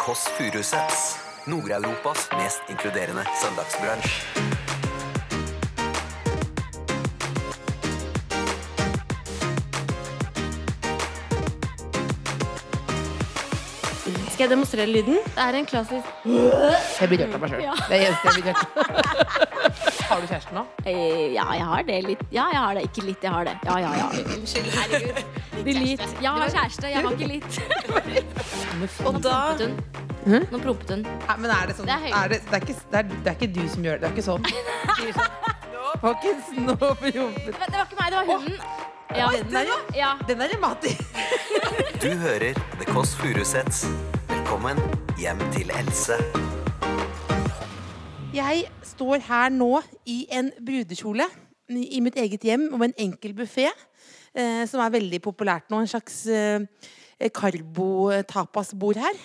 Kåss Furuseths. Nord-Europas mest inkluderende søndagsbransj. Skal jeg demonstrere lyden? Det er en klassisk Jeg blir rørt av meg sjøl. Ja. Det er det eneste jeg blir rørt av. Har du kjæreste nå? eh, Ja, jeg har det litt. Ja, jeg har det. Ikke litt, jeg har det. Ja, ja, ja. Unnskyld, herregud. Delete. Jeg har kjæreste, jeg har ikke litt. Og da Prompet hun. Nå prompet hun. Nei, men er det sånn Det er høy. er det, det, er ikke, det, er, det er ikke du som gjør det. Det er ikke sånn. Folkens, nå prompet Men det var ikke meg, det var hunden. Ja, den er jo- ja. Den er dramatisk. Du hører The Kåss Furuseths. Velkommen hjem til Else. Jeg står her nå i en brudekjole i mitt eget hjem og en enkel buffé, eh, som er veldig populært nå. En slags eh, karbo-tapasbord her.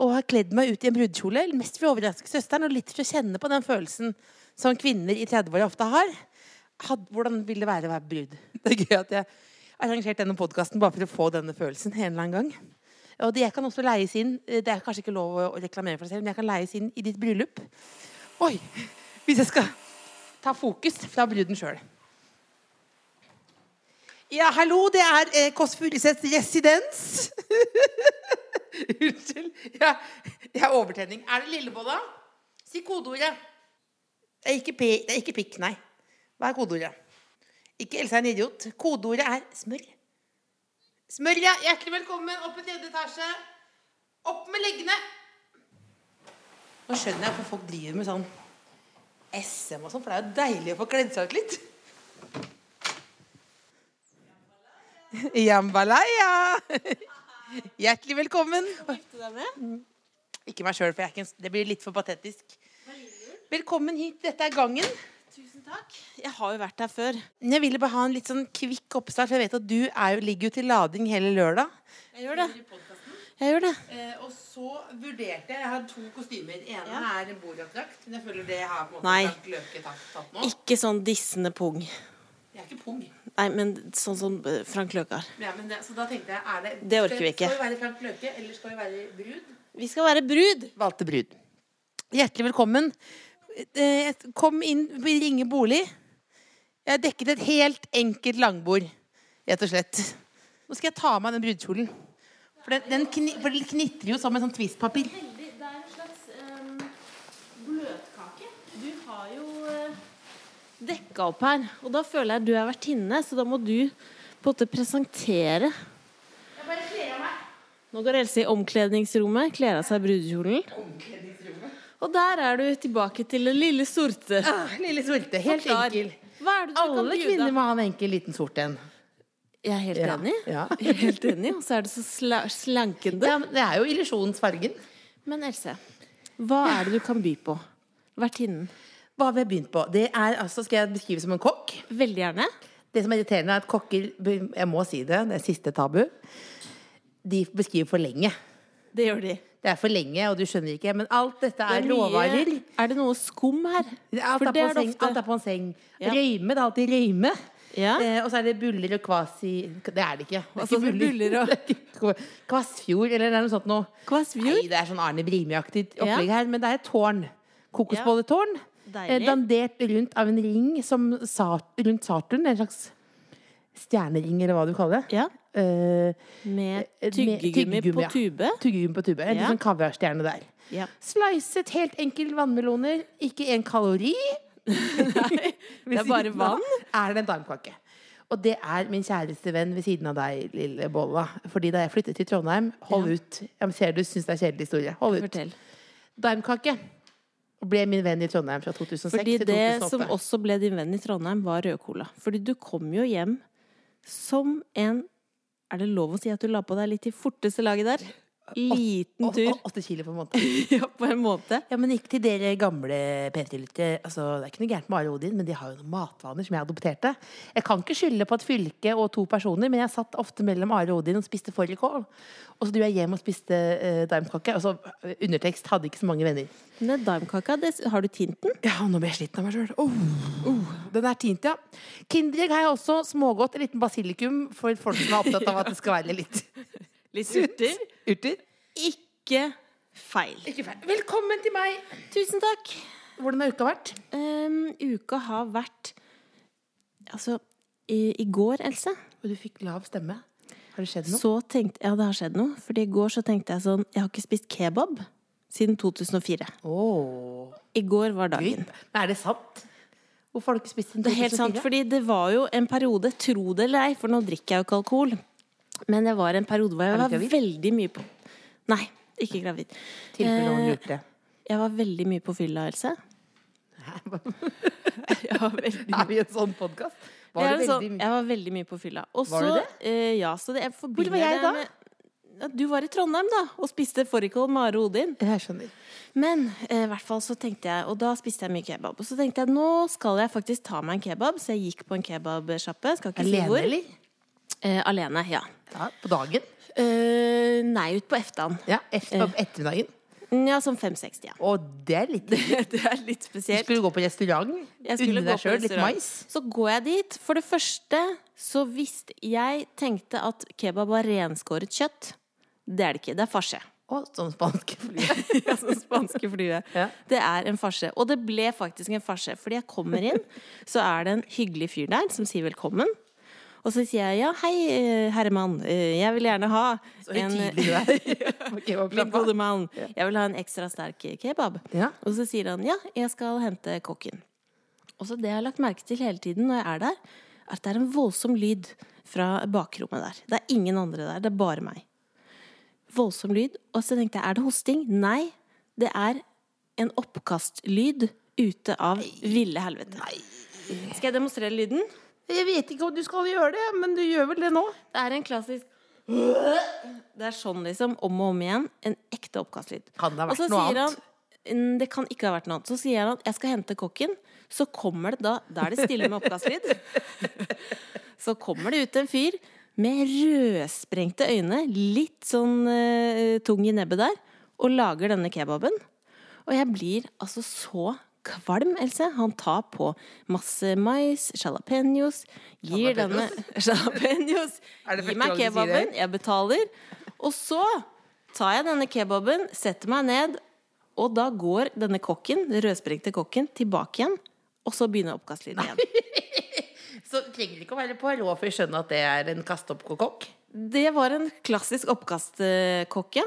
Og har kledd meg ut i en brudekjole, mest for å overraske søsteren, og litt for å kjenne på den følelsen som kvinner i 30-åra ofte har. Had, hvordan vil det være å være brud? Det er gøy at jeg har arrangert denne podkasten bare for å få denne følelsen en eller annen gang. Og det jeg kan også leies inn, eh, det er kanskje ikke lov å å reklamere for det selv, men jeg kan leies inn i ditt bryllup. Oi! Hvis jeg skal ta fokus fra bruden sjøl. Ja, hallo, det er eh, Kåss Furuseths residens. Unnskyld. Ja, jeg har overtenning. Er det lillebolla? Si kodeordet. Det er ikke, P, det er ikke pikk, nei. Hva er kodeordet? Ikke Elsa er en idiot. Kodeordet er smør. Smør, ja. Hjertelig velkommen opp i tredje etasje. Opp med leggene. Nå skjønner jeg hvorfor folk driver med sånn SM og sånn, for det er jo deilig å få kledd seg ut litt. Jambalaya! Hjertelig velkommen. Mm. Ikke meg sjøl, for jeg er ikke en, det blir litt for patetisk. Velkommen hit. Dette er gangen. Tusen takk. Jeg har jo vært her før. Men Jeg ville bare ha en litt sånn kvikk oppstart, for jeg vet at du er jo, ligger jo til lading hele lørdag. Jeg gjør det. Jeg gjør det. Eh, og så vurderte jeg Jeg har to kostymer. Den ene er en boradrakt, men jeg føler det har på en Nei. løket tatt nå. Ikke sånn dissende pung. Jeg er ikke pung. Nei, men sånn som eh, Frank Løkar. Ja, men det, så da tenkte jeg er det, Det orker vi ikke. Skal vi være Frank Løke, eller skal vi være brud? Vi skal være brud. Valgte brud. Hjertelig velkommen. Eh, Kom inn, vi ringer bolig. Jeg har dekket et helt enkelt langbord, rett og slett. Nå skal jeg ta av meg den brudekjolen. For den, den, kni, for den knitrer jo som en sånn twistpapir. Det er en slags eh, bløtkake. Du har jo dekka opp her, og da føler jeg at du er vertinne, så da må du på en måte presentere. Jeg bare kler av meg. Nå går Else i omkledningsrommet, kler av seg brudekjolen. Og der er du tilbake til den lille sorte. Ah, lille sorte. Helt Forklar. enkel. Hva er det du kan Alle bjuda? kvinner må ha en enkel liten sort en. Jeg er helt Ja, enig. ja. Jeg er helt enig, Og så er det så sla slankende. Ja, men det er jo illusjonens fargen. Men Else, hva er det du kan by på? Vertinnen. Hva vi har begynt på? Det er altså, skal jeg beskrive som en kokk. Veldig gjerne. Det som er irriterende, er at kokker Jeg må si det, det er siste tabu. De beskriver for lenge. Det gjør de. Det er for lenge, og du skjønner ikke. Men alt dette er, mye- råvarer. Er det noe skum her? Alt er, For på det er en det seng, ofte. alt er på en seng. Ja. Røyme. Det er alltid røyme. Ja. Eh, og så er det buller og kvasi Det er det ikke. Det er Altså, ikke buller og- Det er ikke- Kvassfjord, eller det er noe sånt noe. Kvassfjord? Nei, det er sånn Arne Brimi-aktig opplegg Ja. her. Men det er et tårn. Kokosbolletårn. Deilig. eh, Dandert rundt av en ring som sa, rundt Saturn. En slags stjernering, eller hva du kaller det. Ja. Eh, Med Med tyggegummi tyggegummi, på ja. tube. Tyggegummi på tube. En Ja. sånn kaviarstjerne der. Ja. Slicet helt enkelt vannmeloner. Ikke en kalori. Det er bare vann. Er det en tarmkake. Og det er min kjæreste venn ved siden av deg, lille Bolla. Fordi da jeg flyttet til Trondheim Hold Ja. ut. Jeg ser du syns det er kjedelig historie. Hold ut. Fortell. Daimkake ble min venn i Trondheim fra 2006 Fordi til det som 2008. også ble din venn i Trondheim, var rødcola. Fordi du kom jo hjem som en Er det lov å si at du la på deg litt i forteste laget der? Liten Å- tur. å- Åtte kilo på en måned. Ja, på en måte. Ja, men ikke til dere gamle P3-lyttere. Altså, det er ikke noe gærent med Are Odin, men de har jo noen matvaner som jeg adopterte. Jeg kan ikke skylde på et fylke og to personer, men jeg satt ofte mellom Are Odin og spiste fårikål. Og så dro jeg hjem og spiste eh, daimkake. Og så eh, undertekst hadde ikke så mange venner. Men daimkaka, det, har du tinten? Ja, nå ble jeg sliten av meg sjøl. Oh, oh, den er tint, ja. Kinderegg har jeg også. Smågodt. En liten basilikum for folk som er opptatt av at det skal være litt Litt surter. urter. Ikke feil. Ikke feil. Velkommen til meg! Tusen takk. Hvordan har uka vært? Em, uka har vært Altså, i, i går, Else, Og du fikk lav stemme. Har det skjedd noe? så tenkte Ja, det har skjedd noe. Fordi i går så tenkte jeg sånn Jeg har ikke spist kebab siden 2004. Åh, I går var gøy. dagen. Men er det sant? Hvorfor har du ikke spist den Det er helt sant, fordi det var jo en periode, tro det eller ei, for nå drikker jeg jo ikke alkohol, men det var en periode hvor jeg Er du var gravid? veldig mye på Nei, ikke gravid. Tilfelle noen Eh, lurte. Jeg var veldig mye på fylla, Else. Jeg var veldig Er vi en sånn podkast? Var Jeg, det er sånn- veldig mye? jeg var veldig mye på fylla. Og Var så, du det? eh, ja, så det, jeg forbinder var jeg det da? med- Ja, du var i Trondheim, da, og spiste fårikål med Are Odin. Jeg skjønner. Men eh, i hvert fall så tenkte jeg, og da spiste jeg mye kebab. Og så tenkte jeg nå skal jeg faktisk ta meg en kebab, så jeg gikk på en kebabsjappe. Skal ikke si Alene, hvor. eller? Eh, alene, ja. Ja, på dagen? Eh, nei, ut på eftan. Ja, efter, på ettermiddagen. Ja, sånn fem-seksti, ja. Og det er litt Du Eh. Det er litt spesielt. skulle gå på restaurant. Jeg skulle Unne gå deg på sjøl litt restaurant. mais. Så går jeg dit. For det første så visste jeg tenkte at kebab var renskåret kjøtt. Det er det ikke. Det er farse. Og sånn spansk fly. Ja, sånn spanske flue. Ja. Det er en farse. Og det ble faktisk en farse. Fordi jeg kommer inn, så er det en hyggelig fyr der som sier velkommen. Og så sier jeg ja, hei, eh, herremann. eh, Jeg vil gjerne ha Så høytidelig du er. På Min kebabsjappa. gode mann, jeg vil ha en ekstra sterk kebab. Ja. Og så sier han ja, jeg skal hente kokken. Og så det jeg har lagt merke til hele tiden når jeg er der, er at det er en voldsom lyd fra bakrommet der. Det er ingen andre der, det er bare meg. Voldsom lyd. Og så tenkte jeg, er det hosting? Nei, det er en oppkastlyd ute av ville helvete. Skal jeg demonstrere lyden? Jeg vet ikke om du skal gjøre det, men du gjør vel det nå? Det er en klassisk Det er sånn, liksom, om og om igjen. En ekte oppkastlyd. Kan det ha Og så vært noe sier annet? Han, "Mm, det kan ikke ha vært noe annet. Så sier han at jeg skal hente kokken. Så kommer det da Da er det stille med oppkastlyd. Så kommer det ut en fyr med rødsprengte øyne, litt sånn eh, tung i nebbet der, og lager denne kebaben. Og jeg blir altså så kvalm, Else. Han tar på masse mais, jalapeños, gir denne Jalapeños. Er det Gi første meg gang du sier kebaben, det? jeg betaler. Og så tar jeg denne kebaben, setter meg ned, og da går denne kokken, den rødsprengte kokken, tilbake igjen. Og så begynner oppkastlyden igjen. Så trenger det ikke å være på rå for å skjønne at det er en kasteoppkokk. Det var en klassisk oppkastkokke.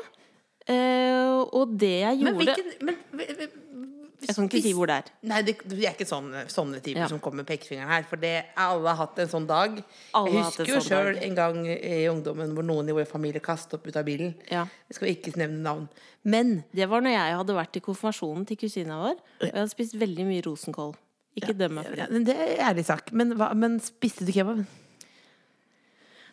Eh, og det jeg Men gjorde hvilken men, men- men- Jeg kan ikke si hvor det er. Nei, det, vi er ikke sånne, sånne typer Ja. som kommer med pekefingeren her. For det, alle har hatt en sånn dag. Alle jeg har hatt en husker jo sånn sjøl dag. en gang i ungdommen hvor noen i vår familie kastet opp ut av bilen. Ja. Jeg skal ikke nevne navn. Men Det var når jeg hadde vært i konfirmasjonen til kusina vår, og jeg hadde spist veldig mye rosenkål. Ikke døm meg for det. ja, men det er ærlig sak. Men, hva, men spiste du kebaben?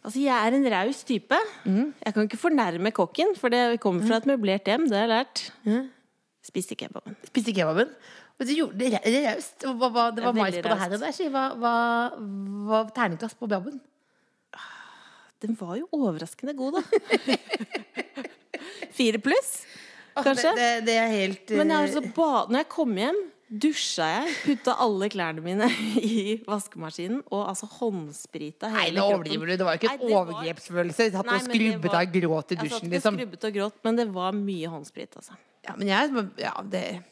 Altså, jeg er en raus type. Mhm. Jeg kan ikke fornærme kokken, for det kommer fra et møblert hjem. Det har jeg lært. Spiste kebaben. Spiste kebaben? Og du gjorde det ra- det raust. Og hva- hva- Det var Det er mais veldig på det her raust. og der. Så hva var terningkast på babben? Den var jo overraskende god, da. Fire pluss, kanskje. Det, det, det er helt Men jeg eh, har altså ba når jeg kom hjem, dusja jeg, putta alle klærne mine i vaskemaskinen, og altså håndsprita eh, Nei, hele nå overdriver du. Det var jo ikke en Nei, det var- overgrepsfølelse. Vi satt Nei, og men det skrubbet var- Altså, av gråt i Jeg satt dusjen, ikke og liksom. skrubbet og gråt, men det var mye håndsprit, altså. Ja, men jeg Ja, det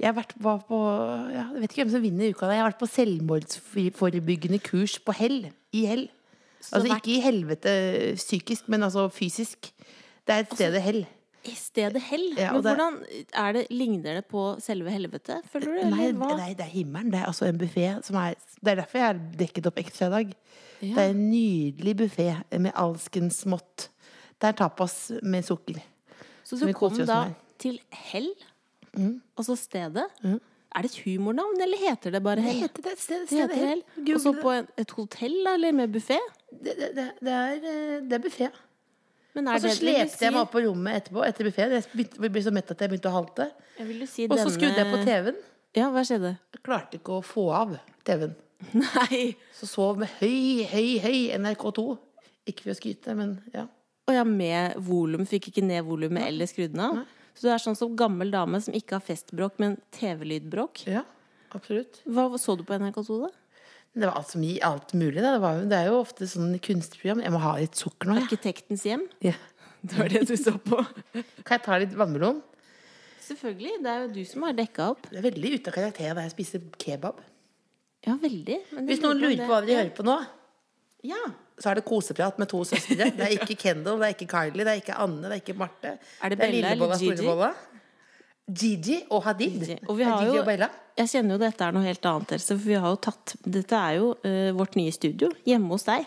Jeg har vært var på ja, Jeg vet ikke hvem som vinner uka. da. Jeg har vært på selvmordsforebyggende kurs på hell. I hell. Altså vært- ikke i helvete psykisk, men altså fysisk. Det er et Altså, sted hell. I stedet hell. Ja, men og det- hvordan er det, ligner det på selve helvete, føler du? Nei, eller hva? nei, det er himmelen. Det er altså en buffé som er Det er derfor jeg har dekket opp ekstra i dag. Ja. Det er en nydelig buffé med alskens smått. Det er tapas med sukker. Så som Mm. du vi kom koser oss da med. til hell, og så stedet. Er det et humornavn, eller heter det bare Mm. Det hell? heter det. Sted, Det heter hell. Og så på det. en, et hotell, da, eller med buffé? Det, det, det, det er, eh, det er buffé. Men er Og så det- vil du slepte si- jeg meg opp på rommet etterpå etter buffeen. Jeg begynte- ble så mett at jeg begynte å halte. jeg vil jo si Og så denne- skrudde jeg på TV-en. Ja, hva skjedde? Jeg Klarte ikke å få av TV-en. Nei! Så sov med høy, høy, høy NRK2. Ikke for å skryte, men ja. Og ja, med volum. Fikk ikke ned volumet eller skrudd den av. Så du er sånn som gammel dame som ikke har festbråk, men TV-lydbråk. ja absolutt. Hva så du på NRK2, da? Det var alt, som, i- alt mulig. Da. Det, var, jo- det er jo ofte sånn kunstprogram. Jeg må ha litt sukker nå, jeg. Arkitektens hjem? Ja. Det var det du så på. Kan jeg ta litt vannmelon? Selvfølgelig. Det er jo du som har dekka opp. Det er veldig ute av karakter da jeg spiser kebab. Ja, veldig. Men jeg Hvis noen lurer om på hva vi hører på nå, det- Ja. så er det koseprat med to søstre. Det er ikke Kendal, det er ikke Kylie, det er ikke Anne, det er ikke Marte. Er det Bella Lillebolla, eller Gigi? Storebolla. Gigi og Hadid. Og vi Er har Gigi jo, og Bella. jeg kjenner jo dette er noe helt annet, Else. For vi har jo tatt Dette er jo eh, vårt nye studio hjemme hos deg.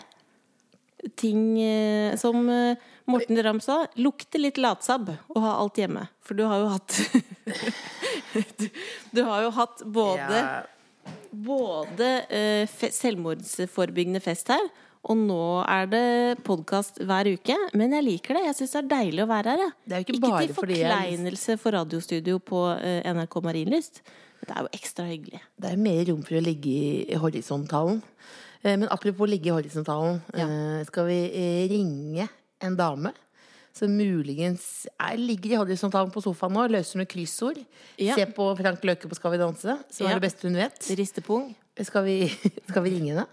Ting eh, som eh, Morten Ramm sa, lukter litt latsabb å ha alt hjemme. For du har jo hatt du, du har jo hatt både, Ja. både eh, fe, selvmordsforebyggende fest her, og nå er det podkast hver uke. Men jeg liker det. Jeg syns det er deilig å være her. Jeg. Det er jo ikke bare til fordi jeg- forkleinelse for radiostudio på eh, NRK Marienlyst. Men det er jo ekstra hyggelig. Det er mer rom for å ligge i horisontalen. Eh, Men apropos ligge i horisontalen, eh, skal vi eh, ringe en dame som muligens er, ligger i horisontalen på sofaen nå, løser noen kryssord. Ja. Se på Frank Løke på Skal vi danse, som Ja. er det beste hun vet. Ristepung. Skal vi, skal vi ringe henne?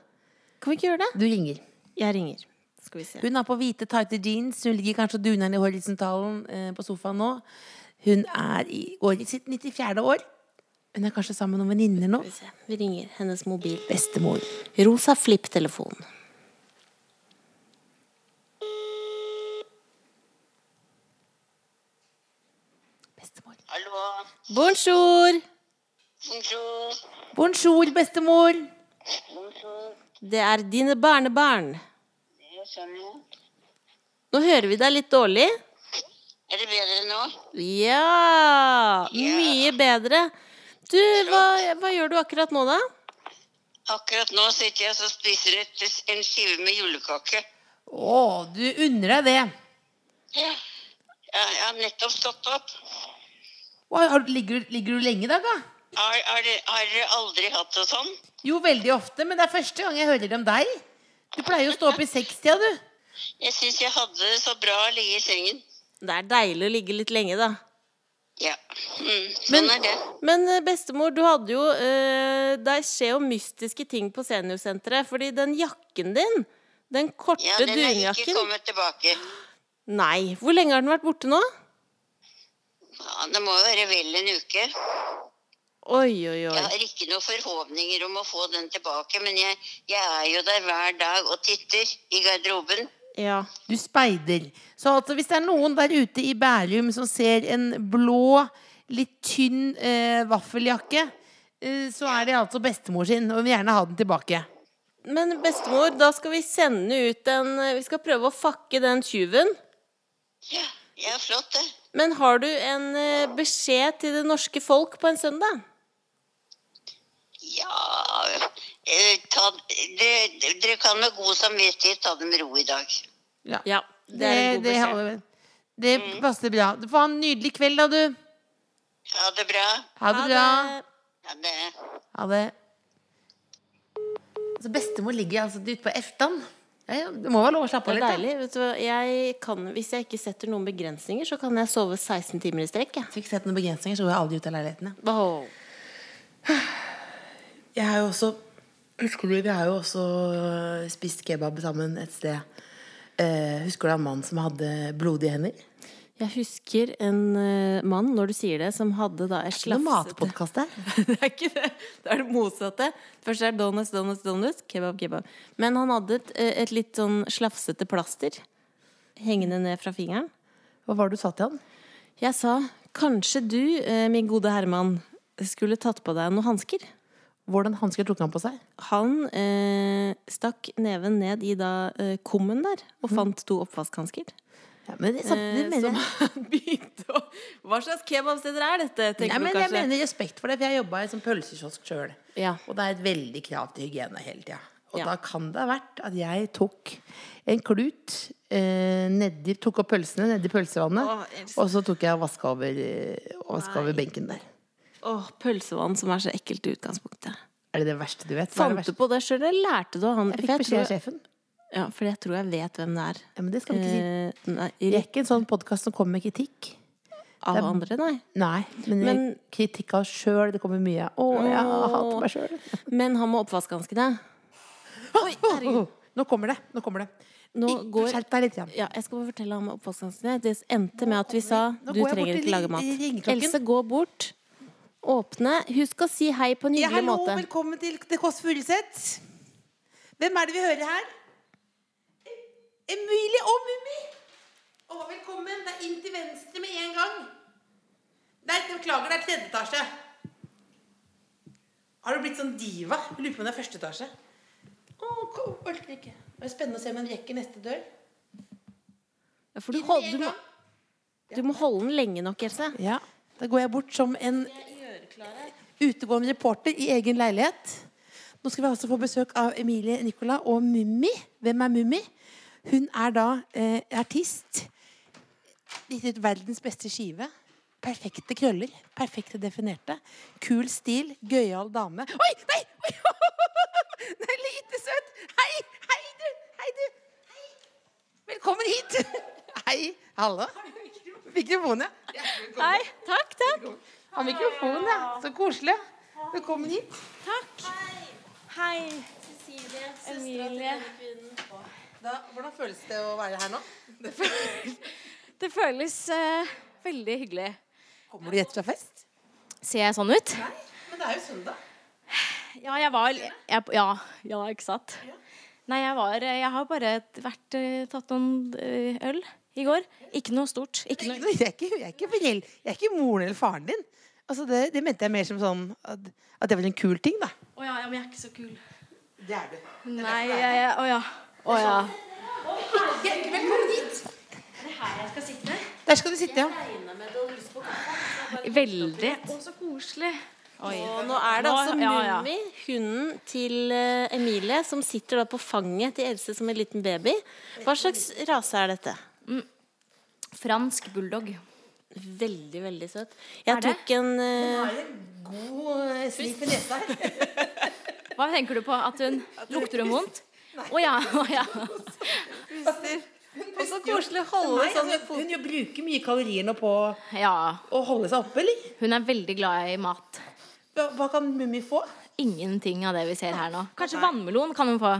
Kan vi ikke gjøre det? Du ringer. Jeg ringer. Skal vi se. Hun har på hvite, tighte jeans. Hun ligger kanskje og duner i horisontalen eh, på sofaen nå. Hun er i, går i sitt 94. år. Hun er kanskje sammen med noen venninner nå. Skal vi se. Vi ringer hennes mobil. Bestemor. Rosa flipptelefon. Bestemor. Hallo. Bonjour! Bonjour. Bonjour, bestemor! Bonjour. Det er dine barnebarn. Jeg skjønner. Nå hører vi deg litt dårlig. Er det bedre nå? Ja! Mye bedre. Du, hva, hva gjør du akkurat nå, da? Akkurat nå sitter jeg og spiser et, en skive med julekake. Å, du unner deg det. Ja. Jeg, jeg har nettopp stått opp. Å, har- ligger, du- ligger du lenge i dag, da? Har, har, dere- har dere aldri hatt det sånn? Jo, veldig ofte, men det er første gang jeg hører om deg. Du pleier jo å stå opp i sekstida, du. Jeg syns jeg hadde det så bra å ligge i sengen. Det er deilig å ligge litt lenge, da. Ja. Mm, sånn er det. Men eh, bestemor, du hadde jo eh, Der skjer jo mystiske ting på seniorsenteret. Fordi den jakken din, den korte Ja, den er ikke dunjakken kommet tilbake. Nei. Hvor lenge har den vært borte nå? Ja, det må jo være vel en uke. Oi, oi, oi. Jeg har ikke noen forhåpninger om å få den tilbake, men jeg, jeg er jo der hver dag og titter i garderoben. Ja. Du speider. Så altså, hvis det er noen der ute i Bærum som ser en blå, litt tynn eh, vaffeljakke, eh, så er det altså bestemor sin, og vil gjerne ha den tilbake. Men bestemor, da skal vi sende ut en eh, Vi skal prøve å fakke den tyven. Ja, ja flott det. Men har du en eh, beskjed til det norske folk på en søndag? Ja eh, ta, dere, dere kan med god samvittighet ta det med ro i dag. Ja. Det Det, er en god det, beskjed. Mm. det passer bra. Du får ha en nydelig kveld, da, du. Ha det bra. Ha det bra. Ha det. Ha det. Altså, bestemor ligger altså ute på Eftan. Ja, ja, det må være lov å slappe Det av er litt. da. deilig. Vet du, hva, jeg kan, hvis jeg ikke setter noen begrensninger, så kan jeg sove 16 timer i strekk. Jeg. Fikk sett noen begrensninger, så går jeg aldri ut av leilighetene. Åh. Jeg har jo også Husker du, vi har jo også øh, spist kebab sammen et sted. Eh, husker du han mannen som hadde blodige hender? Jeg husker en eh, mann, når du sier det, som hadde da et Noe slafsete matpodkast der. Det er ikke det. Det er det motsatte. Først er det donuts, donuts, donuts. Kebab, kebab. Men han hadde et, eh, et litt sånn slafsete plaster hengende ned fra fingeren. Hva var det du sa til han? Jeg sa kanskje du, eh, min gode Herman, skulle tatt på deg noen hansker. Hvordan hansker tok han på seg? Han eh, stakk neven ned i da eh, kummen der og fant to oppvaskhansker. Ja, men det, samtidig Eh, mener som jeg han begynte å Hva slags kebabsteder er dette, Nei, tenker men du jeg kanskje? mener respekt for det, for jeg jobba i en sånn pølsekiosk sjøl. Ja. Og det er et veldig krav til hygiene hele tida. Og Ja. da kan det ha vært at jeg tok en klut, eh, nedi, tok opp pølsene nedi pølsevannet, Å, jeg elsker- og så tok jeg og vaska over, eh, og vasket over benken der. Åh, pølsevann som er så ekkelt i utgangspunktet. Er det det verste du vet? Hva er det Fant du verste? på det sjøl, eller lærte du av han? Jeg For fikk beskjed av tror- sjefen. Ja, for jeg tror jeg vet hvem det er. Ja, men det skal vi ikke si. Eh, nei, Vi er ikke ikke en sånn podkast som kommer med kritikk. av andre, nei. Nei, men, Men- kritikk av oss sjøl. Det kommer mye. Å, jeg hater meg sjøl. Men han med oppvaskhanskene. Nå kommer det. Nå kommer det. nå går Skjerp deg litt. Jan. ja, jeg skal bare fortelle om oppvaskhanskene. Det endte med at vi sa Nå går du jeg bort trenger til ikke lage ring- mat. ringeklokken. Else, gå bort. Åpne. Husk å si hei på en Ja, hyggelig hallo, måte. velkommen til Det Kåss Furuseth. Hvem er det vi hører her? Emilie og Mummi! Å, velkommen. Det er inn til venstre med en gang. Nei, beklager, det er tredje etasje. Har du blitt sånn diva? Jeg Lurer på om det er første etasje. Å, kom, orker ikke. Det er spennende å se om hun rekker neste dør. Ja, for du, hold, du, må, du må holde den lenge nok, Else. Ja, da går jeg bort som en utegående reporter i egen leilighet. Nå skal vi altså få besøk av Emilie Nicola og Mummi. Hvem er Mummi? Hun er da eh, artist. Gitt ut verdens beste skive. Perfekte krøller. Perfekte definerte. Kul stil. Gøyal dame. Oi! Nei! Oi! Nei, lite søt! Hei! Hei, du! Hei, du! Hei! Velkommen hit! Hei! Hallo? Mikrofon, ja. Nei, takk, takk. Har mikrofon, ja. Så koselig. Velkommen hit. Hei. Emilie. hvordan føles det å være her nå? Det føles eh, veldig hyggelig. Kommer du rett fra fest? Ser jeg sånn ut? Nei, men det er jo søndag. Ja, jeg var jeg, ja, ja, ikke sant? Nei, jeg var Jeg har bare vært eh, tatt noen eh, øl i går. Ikke noe stort. Ikke noe Jeg er ikke, jeg er ikke, forel- jeg er ikke moren eller faren din. Altså det, det mente jeg mer som sånn at, at det var en kul ting, da. Å ja, ja, men jeg er ikke så kul. Det er du. Nei, sånn jeg jeg- Å ja. Å ja. Der skal du sitte, ja. Veldig. Å, så koselig. Og nå er det Nå- altså ja, ja. Mummi, hunden til eh, Emilie, som sitter da på fanget til Else som en liten baby. Hva slags rase er dette? Fransk bulldog. Veldig, veldig søt. Jeg Er det? tok en eh, God sniff i nesa her. Hva tenker du på? At hun Lukter hun vondt? Å ja. Å ja. Og så koselig å holde sånn. Hun jo bruker mye kalorier nå på ja. å holde seg oppe, eller? Hun er veldig glad i mat. Hva, hva kan Mummi få? Ingenting av det vi ser her nå. Kanskje vannmelon kan hun få?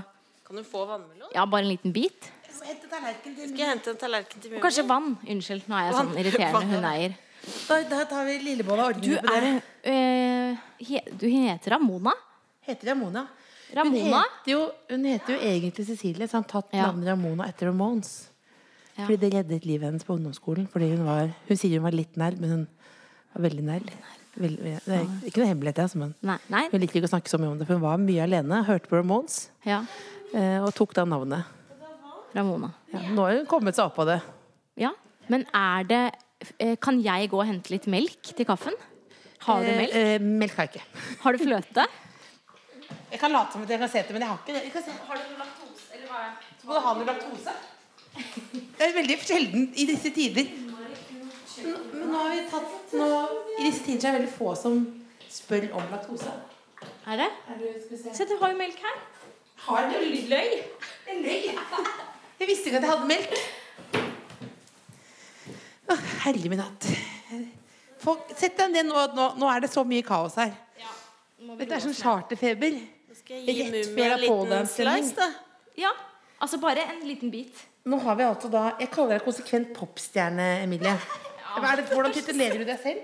Kan du få vannmelon? Ja, bare en liten bit. Hente tallerken til Skal jeg hente en tallerken til Og Mummi? kanskje vann. Unnskyld, nå er jeg sånn irriterende hundeeier. Da, da tar vi lillebånda og Du ordner på er det. eh, he, Du heter Ramona? Heter Ramona. Ramona? Hun heter jo, hun heter jo egentlig Cecilie, så han tatt Ja. navnet Ramona etter Ramones. Ja. Fordi det reddet livet hennes på ungdomsskolen. Fordi hun var, hun sier hun var litt nerd, men hun var veldig nerd. Veldig- det er ikke noe hemmelighet, altså, men Nei. nei. hun liker ikke å snakke så mye om det. For hun var mye alene, hørte på Ramones Ja. eh, og tok da navnet. Ramona. Ja, nå har hun kommet seg opp av det. Ja. Men er det eh, Kan jeg gå og hente litt melk til kaffen? Har du melk? Eh, eh, melk har jeg ikke. Har du fløte? Jeg kan late som at jeg kan se etter, men jeg har ikke det. Jeg kan se. Har du laktose? Eller hva er Må du ha noe laktose? Det er veldig sjelden i disse tider. N- Men nå har vi tatt nå, I disse tider så er det veldig få som spør om laktose. Er det? Se, du har jo melk her. Har du løy? En løy? Jeg visste ikke at jeg hadde melk. Å, herre min hatt. Få- Sett deg ned nå, at nå. Nå er det så mye kaos her. Dette er sånn charterfeber. Skal jeg gi Rett Mummi mer en liten Apollo-anstilling. slice, da? Ja. Altså bare en liten bit. Nå har vi altså da Jeg kaller deg konsekvent popstjerne, Emilie. Hva er det, hvordan titulerer du deg selv?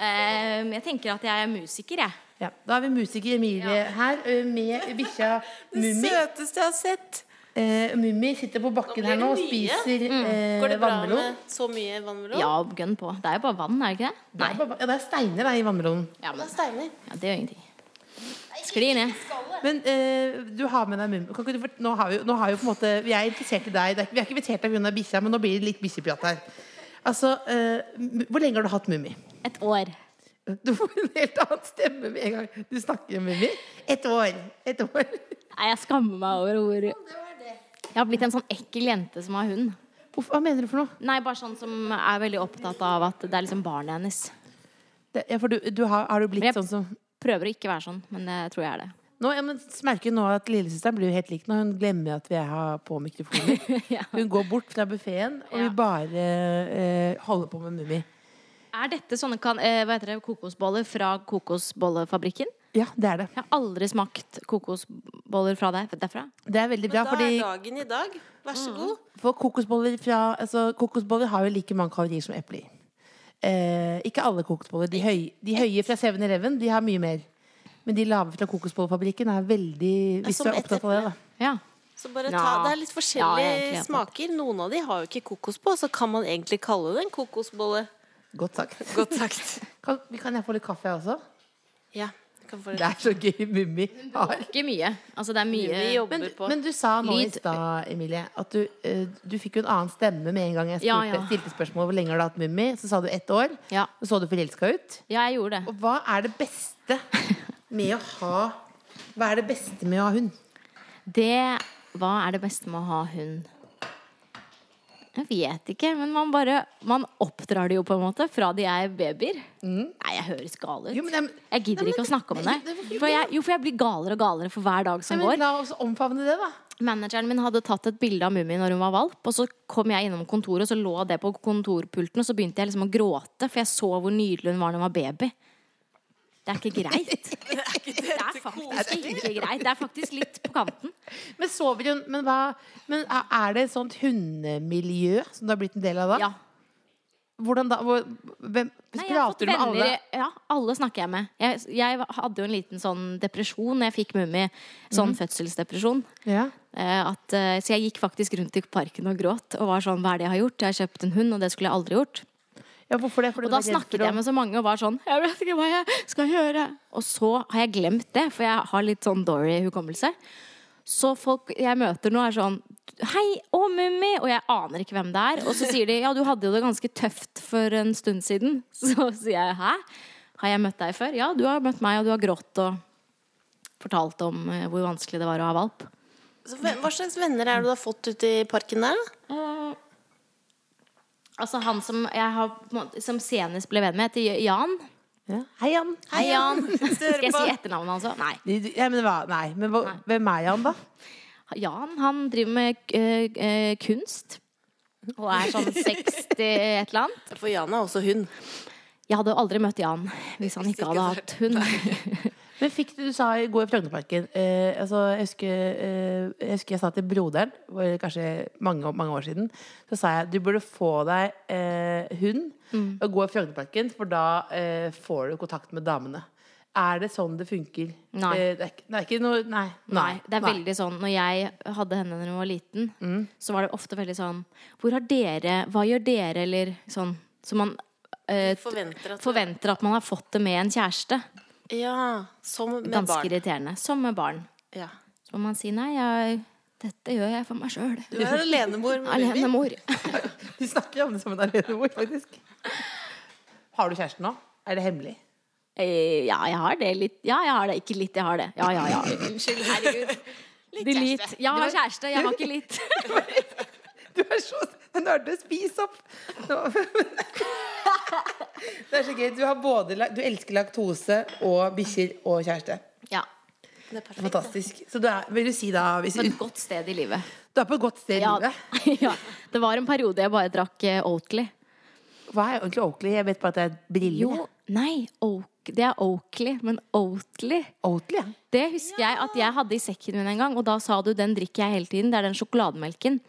Ehm, jeg tenker at jeg er musiker, jeg. Ja, Da er vi musiker Emilie her ø, med bikkja Mummi. Søteste jeg har sett. Eh, Mummi sitter på bakken Nå blir her nå og det mye. spiser Går eh, det bra vannmelon. med så mye vannmelon? Ja, gønn på. Det er jo bare vann, er det ikke det? Nei. Ja, ba- ja, det er steiner da, i vannmelonen. Ja, men, ja, det gjør ingenting. Sklir ned. Men eh, du har med deg Mummi. Kan ikke du fort- Nå, har vi- nå har vi på en måte Vi er interessert i deg. Det er ikke- Vi er ikke invitert deg pga. bikkja, men nå blir det litt bikkjeprat her. Altså, eh, m- Hvor lenge har du hatt Mummi? Et år. Du får en helt annen stemme med en gang du snakker med Mummi. Et år. Et år. Nei, jeg skammer meg over hvor Jeg har blitt en sånn ekkel jente som har hund. Hvorfor- Hva mener du for noe? Nei, bare sånn som er veldig opptatt av at det er liksom barnet hennes. Det, ja, for du, du har, har du blitt Men jeg- sånn som Prøver å ikke være sånn, men jeg tror jeg er det. nå, ja, men merker jo nå at Lillesøsteren blir jo helt lik når hun glemmer at vi har på mikrofoner. Ja. Hun går bort fra buffeen og Ja. vil bare eh, holde på med Mummi. Er dette sånne kan, eh, hva heter det, kokosboller fra kokosbollefabrikken? Ja, det er det. Jeg har aldri smakt kokosboller fra deg derfra. Det er veldig bra, Men da fordi er dagen i dag. Vær så god. for kokosboller, fra, altså, kokosboller har jo like mange kalorier som epler. Eh, ikke alle kokosboller. De, høy, de høye fra 7-Eleven de har mye mer. Men de lave fra kokosbollefabrikken er veldig Hvis du som er et opptatt av det, da. Ja. Så bare ta, Ja. Det er litt Ja, forskjellige jeg er egentlig enig. smaker. Noen av de har jo ikke kokos på, så kan man egentlig kalle det en kokosbolle. Godt sagt. Godt sagt. Kan, kan jeg få litt kaffe, jeg også? Ja, du kan få Det det. er så gøy Mummi har. Ikke mye. Altså, det er mye Vi jobber Men, på. men du sa nå i Lyd. stad, Emilie, at du, eh, du fikk jo en annen stemme med en gang jeg spurte, Ja, ja. stilte spørsmål hvor lenge har du hatt Mummi. Så sa du ett år. Ja. Så så du forelska ut. Ja, jeg gjorde det. Og hva er det beste med å ha Hva er det beste med å ha hund? Det Hva er det beste med å ha hund? Jeg vet ikke, men man bare Man oppdrar det jo på en måte fra de er babyer. Nei, jeg høres gal ut. Mm. Jo, men det er- jeg gidder Nei, men ikke å det- snakke om det. Nei, det- hvorfor ikke? For jeg, jo, for jeg blir galere og galere for hver dag som Nei, men går. la oss omfavne det, da. Manageren min hadde tatt et bilde av Mummi når hun var valp, og så kom jeg innom kontoret, og så lå det på kontorpulten, og så begynte jeg liksom å gråte, for jeg så hvor nydelig hun var da hun var baby. Det er ikke greit. Det er faktisk ikke greit. Det er faktisk litt på kanten. Men sover hun Men, hva, men er er det et sånt hundemiljø som du har blitt en del av da? Ja. Hvordan da? Hvor, hvem, Nei, jeg har fått prater du med alle? venner i- Ja, alle snakker jeg med. Jeg, jeg hadde jo en liten sånn depresjon da jeg fikk Mummi. Sånn Mhm. fødselsdepresjon. Ja. Eh, at, eh, så jeg gikk faktisk rundt i parken og gråt og var sånn Hva er det jeg har gjort? Jeg har kjøpt en hund, og det skulle jeg aldri gjort. ja, hvorfor det? Fordi Og da du var redd snakket for å- jeg med så mange og var sånn Jeg vet ikke hva jeg skal gjøre. Og så har jeg glemt det, for jeg har litt sånn Dory-hukommelse. Så folk jeg møter nå, er sånn Hei, å, Mummi! Og jeg aner ikke hvem det er. Og så sier de ja, du hadde jo det ganske tøft for en stund siden. Så sier jeg hæ? Har jeg møtt deg før? Ja, du har møtt meg, og du har grått og fortalt om eh, hvor vanskelig det var å ha valp. Så hva hva slags venner er det du har fått ute i parken der? da? Altså han som jeg har på en måte- Som senest ble venn med, heter Jan. ja. Hei, Jan. Hei, Jan. Skal jeg på. si etternavnet hans òg? Nei. Nei, du- Ja, men hva, nei, men hva, hvem er Jan, da? Jan, han driver med eh, eh, kunst. Og er sånn 60 et eller annet. For Jan er også hund. Jeg hadde jo aldri møtt Jan hvis han ikke hadde hatt hund. Men fikk du, du sa i går i Frognerparken eh, altså, jeg, husker, eh, jeg husker jeg sa til broderen, for kanskje mange, mange år siden, så sa jeg du burde få deg eh, hund Mm. og gå i Frognerparken, for da eh, får du kontakt med damene. Er det sånn det funker? Nei. Eh, det, er, ikke- det er ikke noe Nei. Nei, det er veldig sånn Når jeg hadde henne når hun var liten, Mm. så var det ofte veldig sånn Hvor har dere Hva gjør dere, eller sånn Så man eh, Forventer at forventer at man har fått det med en kjæreste. Ja, som med Ganske barn. irriterende. Som med barn. Ja. Så må man si nei, jeg, dette gjør jeg for meg sjøl. Du er alenemor. med baby. Alenemor. Vi snakker om det som en alenemor, faktisk. Har du kjæreste nå? Er det hemmelig? Eh, Ja, jeg har det litt. Ja, jeg har det. Ikke litt, jeg har det. Ja, ja, ja. Unnskyld. Herregud. Litt kjæreste. Jeg har kjæreste, jeg har ikke litt. Du er så nerde. Spis opp! Nå. Det er så gøy. Du, har både, la- du elsker laktose og bikkjer og kjæreste. Ja. Det er perfekt. Fantastisk. Så du er, vil du si da hvis, På et godt sted i livet. Du er på et godt sted i Ja, livet. ja. Det var en periode jeg bare drakk eh, Oatly. Hva er egentlig Oakley? Jeg vet bare at det er briller. Jo, nei, Oak, det er Oakley, men Oatly Oakley, ja. Det husker jeg at jeg hadde i sekken min en gang, og da sa du 'den drikker jeg hele tiden', det er den sjokolademelken.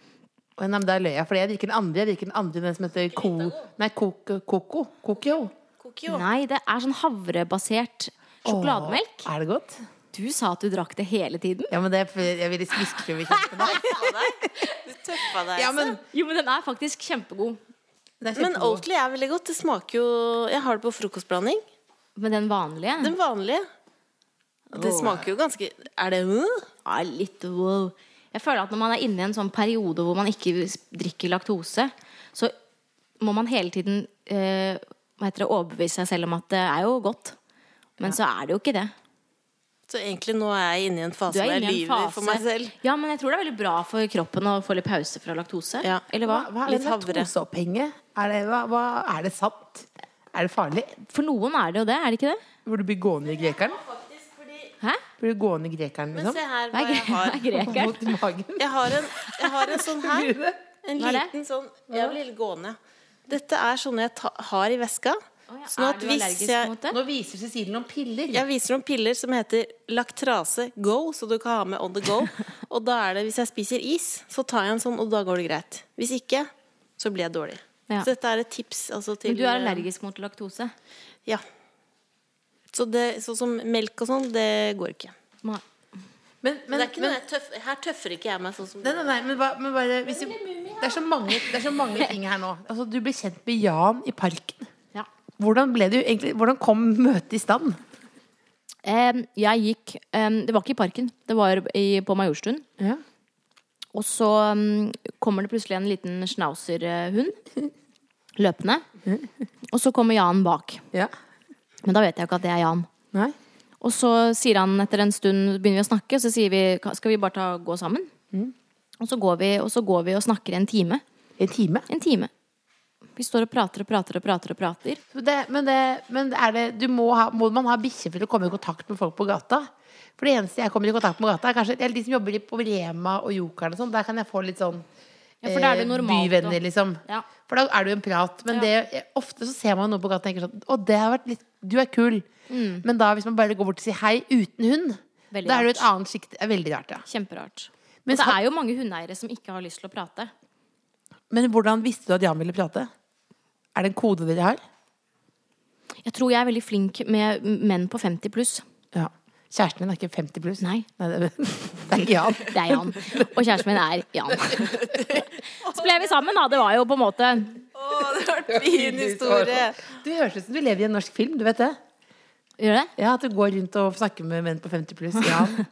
Å, Nei, men der løy jeg, for jeg drikker den andre. Jeg drikker den andre, den som heter Ko... Nei, Koko. Koko. Kokio. Kokio. Nei, det er sånn havrebasert sjokolademelk. Å, Er det godt? Du sa at du drakk det hele tiden. Ja, men det er for jeg ville smiske over kjeften. Tøffa deg. Du tøffa deg. Ja, altså. men Jo, men den er faktisk kjempegod. det er men kjempegod. Oatly er veldig godt. Det smaker jo Jeg har det på frokostblanding. Men den vanlige Den vanlige. Det smaker jo ganske Er det uh? Ja, litt wow. Jeg føler at når man er inne i en sånn periode hvor man ikke drikker laktose, så må man hele tiden eh, hva heter det, overbevise seg selv om at det er jo godt. Men så er det jo ikke det. Så egentlig nå Altså, er jeg inne i en fase Du er hvor jeg inne i en lyver fase. for meg selv. Ja, men jeg tror det er veldig bra for kroppen å få litt pause fra laktose. Ja. Eller hva? Hva er Litt det med havre. toseopphenge? Er, det- hva- hva- er det sant? Er det farlig? For noen er det jo det, er det ikke det? Burde du bli gående i grekeren? Hæ? Burde du gående i grekeren, Men liksom? se her Hva hva er, gre- jeg hva har. er greker? Mot magen? Jeg har en, jeg har en sånn her. En Hva er det? liten sånn Jeg vil gå ned. Dette er sånne jeg ta, sånn har i veska. Sånn at er du hvis allergisk jeg- mot det? Nå viser Cecilie noen piller. Jeg viser noen piller som heter Lactrase Go, så du kan ha med on the go. Og da er det, hvis jeg spiser is, så tar jeg en sånn, og da går det greit. Hvis ikke, så blir jeg dårlig. Ja. Så dette er et tips. Altså, til, Men du er allergisk mot laktose? Ja. Så det, sånn som melk og sånn, det går ikke. Nei. Men, men, det er ikke men, noe jeg tøff, her tøffer ikke jeg meg sånn som nei, nei, nei, men, hva- men bare hvis du, det, er så mange, det er så mange ting her nå. Altså, du ble kjent med Jan i parken. Ja. Hvordan, ble du egentlig, hvordan kom møtet i stand? Em, jeg gikk em, Det var ikke i parken, det var i, på Majorstuen. Ja. Og så em, kommer det plutselig en liten schnauzer-hund løpende. Og så kommer Jan bak. Ja. Men da vet jeg jo ikke at det er Jan. Nei. Og så sier han etter en stund begynner vi å snakke, så sier vi skal vi bare ta, gå sammen. Og, så går vi, og så går vi og snakker en time. En time. En time. Vi står og prater og prater og prater og prater. Så Det, men det, men er det, du må, ha, må man ha bikkje for å komme i kontakt med folk på gata? For det eneste jeg kommer i kontakt med på gata, er kanskje eller de som jobber i- på Rema og Jokeren og sånn. Der kan jeg få litt sånn Ja, for da er det eh, normalt, da. byvenner, liksom. Ja. For da er det jo en prat. Men det, ofte så ser man noe på gata og tenker sånn Å, det har vært litt Du er kul. Men da hvis man bare går bort og sier hei uten hund, Mm. Veldig da er det jo rart. et annet sjikt. det er Veldig rart, ja. Kjemperart. Altså, Men Men det skal- er jo mange hundeeiere som ikke har lyst til å prate. Men hvordan visste du at Jan ville prate? Er det en kode dere har? Jeg tror jeg er veldig flink med menn på 50 pluss. Ja. Kjæresten din er ikke 50 pluss? Nei. det, det er ikke Jan. Det er Jan. Og kjæresten min er Jan. Så ble vi sammen, da. Det var jo på en måte Fin historie! Du høres ut som du lever i en norsk film, du vet det? Gjør det? Ja, At du går rundt og snakker med menn på 50 pluss. Jan.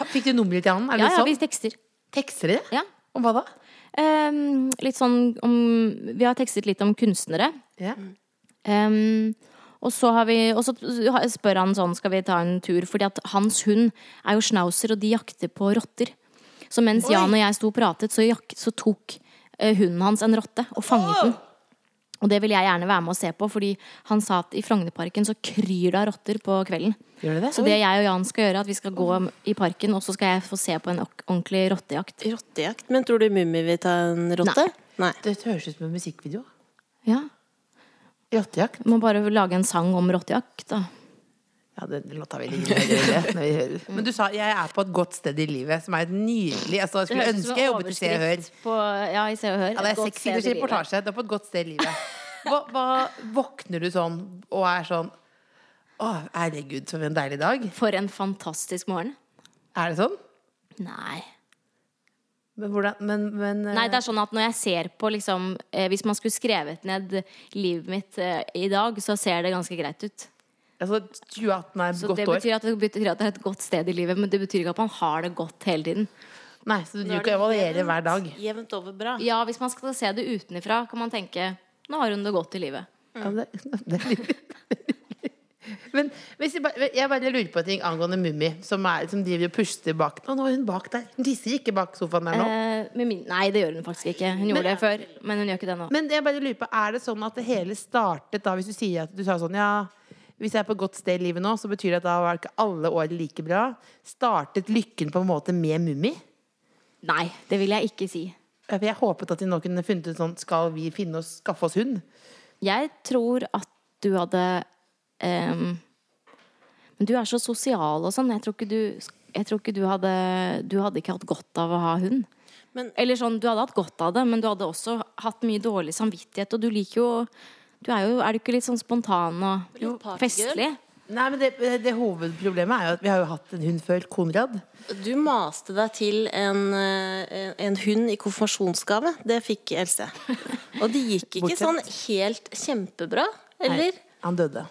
Ha- Fikk du nummeret til Jan? Er det Ja, ja, sånn? vi tekster. Tekster dere? Ja. Om hva da? Ehm, litt sånn om Vi har tekstet litt om kunstnere. Ja. Ehm, og så, har vi, og så spør han sånn, skal vi ta en tur? Fordi at hans hund er jo schnauzer, og de jakter på rotter. Så mens Jan og jeg sto og pratet, så, jak så tok eh, hunden hans en rotte og fanget den. Og det ville jeg gjerne være med og se på, fordi han sa at i Frognerparken så kryr det av rotter på kvelden. Gjør dere det? Så det jeg og Jan skal gjøre, er at vi skal gå i parken, og så skal jeg få se på en ok- ordentlig rottejakt. Rottejakt. Men tror du Mummi vil ta en rotte? Nei. Det høres ut som en musikkvideo. Ja, Rottejakt. Må bare lage en sang om rottejakt, da. Ja, den låta vil ingen høre. det, når vi hører. Men du sa jeg er på et godt sted i livet, som er et nydelig altså, Jeg skulle høres ut som ønske en jeg jobbet i Se og Hør. overskrift På, ja, i Se og Hør. Ja, Et det er godt seks sted i siders livet. reportasje. Du er på et godt sted i livet. Hva, hva våkner du sånn og er sånn Å, herregud, for en deilig dag. For en fantastisk morgen. Er det sånn? Nei. Men hvordan Men, men eh, Nei, det er sånn at når jeg ser på liksom eh, Hvis man skulle skrevet ned livet mitt eh, i dag, så ser det ganske greit ut. altså, 2018 er et Så godt det år. betyr, at det betyr at det er et godt sted i livet, men det betyr ikke at man har det godt hele tiden. Nei, så du Nå er kan det evaluere jevnt- hver dag. Jevnt over bra. Ja, hvis man skal se det utenifra, kan man tenke Nå har hun det godt i livet. Ja, det, det er litt- Men hvis jeg, bare, jeg bare lurer på en ting angående Mummi, som, er- som driver og puster bak Å, nå er hun bak der. Hun tisser ikke bak sofaen der nå. Eh, med min, nei, det gjør hun faktisk ikke. Hun gjorde det før, men hun gjør ikke det nå. Men det jeg bare lurer på, er det sånn at det hele startet da, hvis du sier at du sa sånn, ja, hvis jeg er på et godt sted i livet nå, så betyr det at da var ikke alle år like bra. Startet lykken på en måte med Mummi? Nei, det vil jeg ikke si. For Jeg håpet at de nå kunne funnet ut sånn, skal vi finne oss, skaffe oss hund? Jeg tror at du hadde ehm, Men du er så sosial og sånn. Jeg tror ikke du, jeg tror ikke du hadde Du hadde ikke hatt godt av å ha hund. Men- Eller sånn, du hadde hatt godt av det, men du hadde også hatt mye dårlig samvittighet. Og du liker jo Du er jo Er du ikke litt sånn spontan og Litt partygirl. festlig? Nei, men det, det hovedproblemet er jo at vi har jo hatt en hund før, Konrad. Du maste deg til en, eh, en hund i konfirmasjonsgave. Det fikk Else. Og det gikk ikke Bortsett. sånn helt kjempebra, eller? Han døde.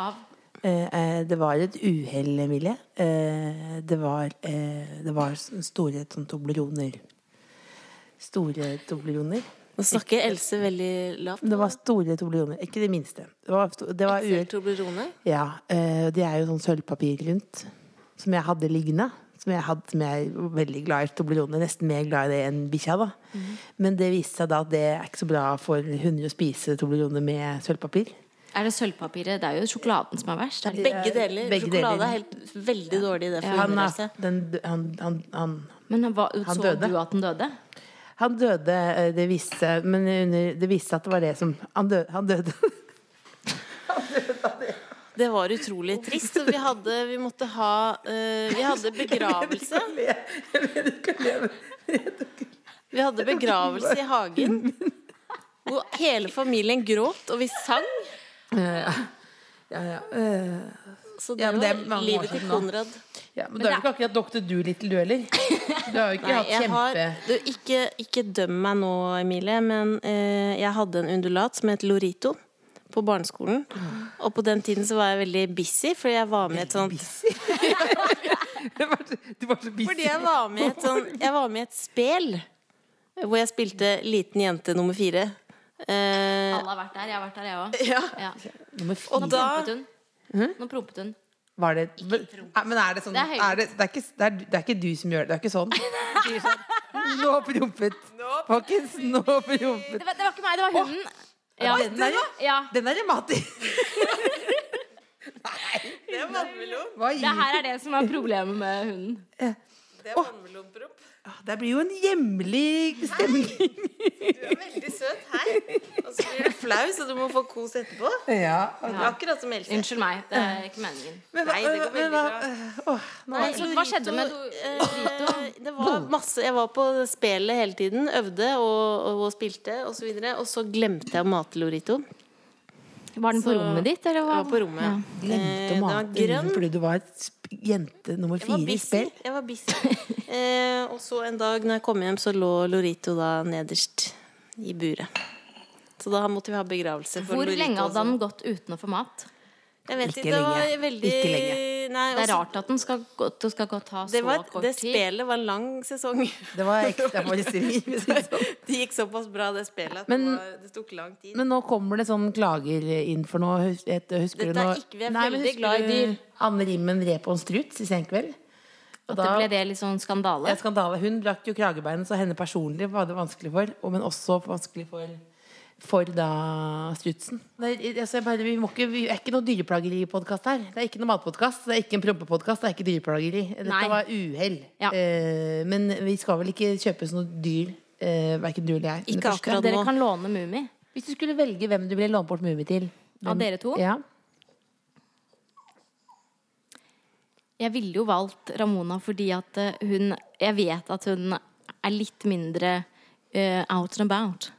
Av? Eh, eh, det var et uhell, Emilie. Eh, det var, eh, det var s- store sånn tobleroner. Store tobleroner. Nå snakker Else veldig lavt. Det var store tobleroner. Ikke det minste. Det var, sto- det var uhell. Toblerone. Ja, eh, det er jo sånn sølvpapir rundt, som jeg hadde liggende. Som jeg, hadde, som jeg var veldig glad i toblerone, nesten mer glad i det enn bikkja. da. Men det viste seg da at det er ikke så bra for hunder å spise toblerone med sølvpapir. Er det sølvpapiret? Det er jo sjokoladen som er verst. Er det ikke? Begge deler. Begge Sjokolade deler. er helt veldig dårlig i det for Han, hunder, er, Else. den, han, han, han, Men hva, Han så døde. du at den døde? han døde, eh, det viste seg, men under, det viste seg at det var det som Han døde. Han døde. Han Det var utrolig trist. Så vi hadde Vi måtte ha eh, Vi hadde begravelse. Vi hadde begravelse i hagen. Hvor hele familien gråt, og vi sang. Så det Ja, men det er var mange år livet til siden nå. Konrad. Ja, men du er jo ikke akkurat Dr. Doolittle, du heller. Du har jo ikke Nei, hatt jeg har, kjempe... du, ikke, ikke døm meg nå, Emilie, men eh, jeg hadde en undulat som het Lorito på barneskolen. Og på den tiden så var jeg veldig busy, fordi jeg var med i et sånt Du var så- Du var så busy. Fordi jeg var med i et sånn Jeg var med i et spel hvor jeg spilte liten jente nummer fire. Eh, Alle har vært der. Jeg har vært der, jeg òg. ja. Ja. Nummer Og Nå da prompet hun. Nå prompet hun. Var det Nei, Men er det sånn Det er Det høylytt. er, det, det, er ikke, det, er, det er ikke du som gjør det. Det er ikke sånn. Du sier sånn Nå prompet. Folkens, nå prompet. Det var, det var ikke meg, det var hunden. Ja. den der, ja. ja. Den er rematisk. Hva Det gir her er det som er problemet med hunden. Det blir jo en hjemlig stemning. Du er veldig søt. Hei. Og så blir du flau, så du må få kos etterpå. Ja. Akkurat som Else. Unnskyld meg. Det er ikke meningen. Men hva, Eh, Nei, det går men veldig hva- Åh, nå Nei, så hva skjedde med Eh, det var masse Jeg var på spelet hele tiden. Øvde og, og, og spilte og så videre. Og så glemte jeg å mate Loritoen. Var den på Så- rommet ditt, eller Jeg var på hva? rommet. Eh, glemte å den var mate grønn. hunden fordi du var sp- jente nummer Jeg fire var i busy. spill. Jeg var busy. Eh, og så en dag når jeg kom hjem, så lå Lorito da nederst i buret. Så da måtte vi ha begravelse. for Hvor Lorito lenge hadde også. han gått uten å få mat? Jeg vet Ikke ikke, det var lenge. veldig Ikke lenge. Nei, Det er også- rart at den skal gå, det skal gå ta så Altså, Det, var, kort det tid. spelet var en lang sesong. Det var ekstra forestilling. hvis jeg sier sånn. Det gikk såpass bra, det spelet, at Men- det, var, det tok lang tid. Men nå kommer det sånn klager inn for noe. hus- et- Husker du Dette er nå- ikke- vi er Nei, men veldig husker glad i du dyr. Anne Rimmen rep og en struts i sen kveld. Og At det ble det litt sånn skandale? Ja, skandale. Hun brakk jo kragebeinet, så henne personlig var det vanskelig for. og- Men også vanskelig for, for da strutsen. Det er, altså, jeg bare, vi, må ikke, vi er ikke noe dyreplageripodkast her. Det er ikke noe matpodkast, det er ikke en prompepodkast, det er ikke dyreplageri. Dette Nei. var uhell. Ja. Eh, men vi skal vel ikke kjøpes noe dyr, uh, verken du eller jeg. Ikke Det første. akkurat. Dere nå. kan låne Mummi. Hvis du skulle velge hvem du ville låne bort Mummi til Av dere to? Ja. Jeg ville jo valgt Ramona fordi at eh, hun Jeg vet at hun er litt mindre eh, out and about.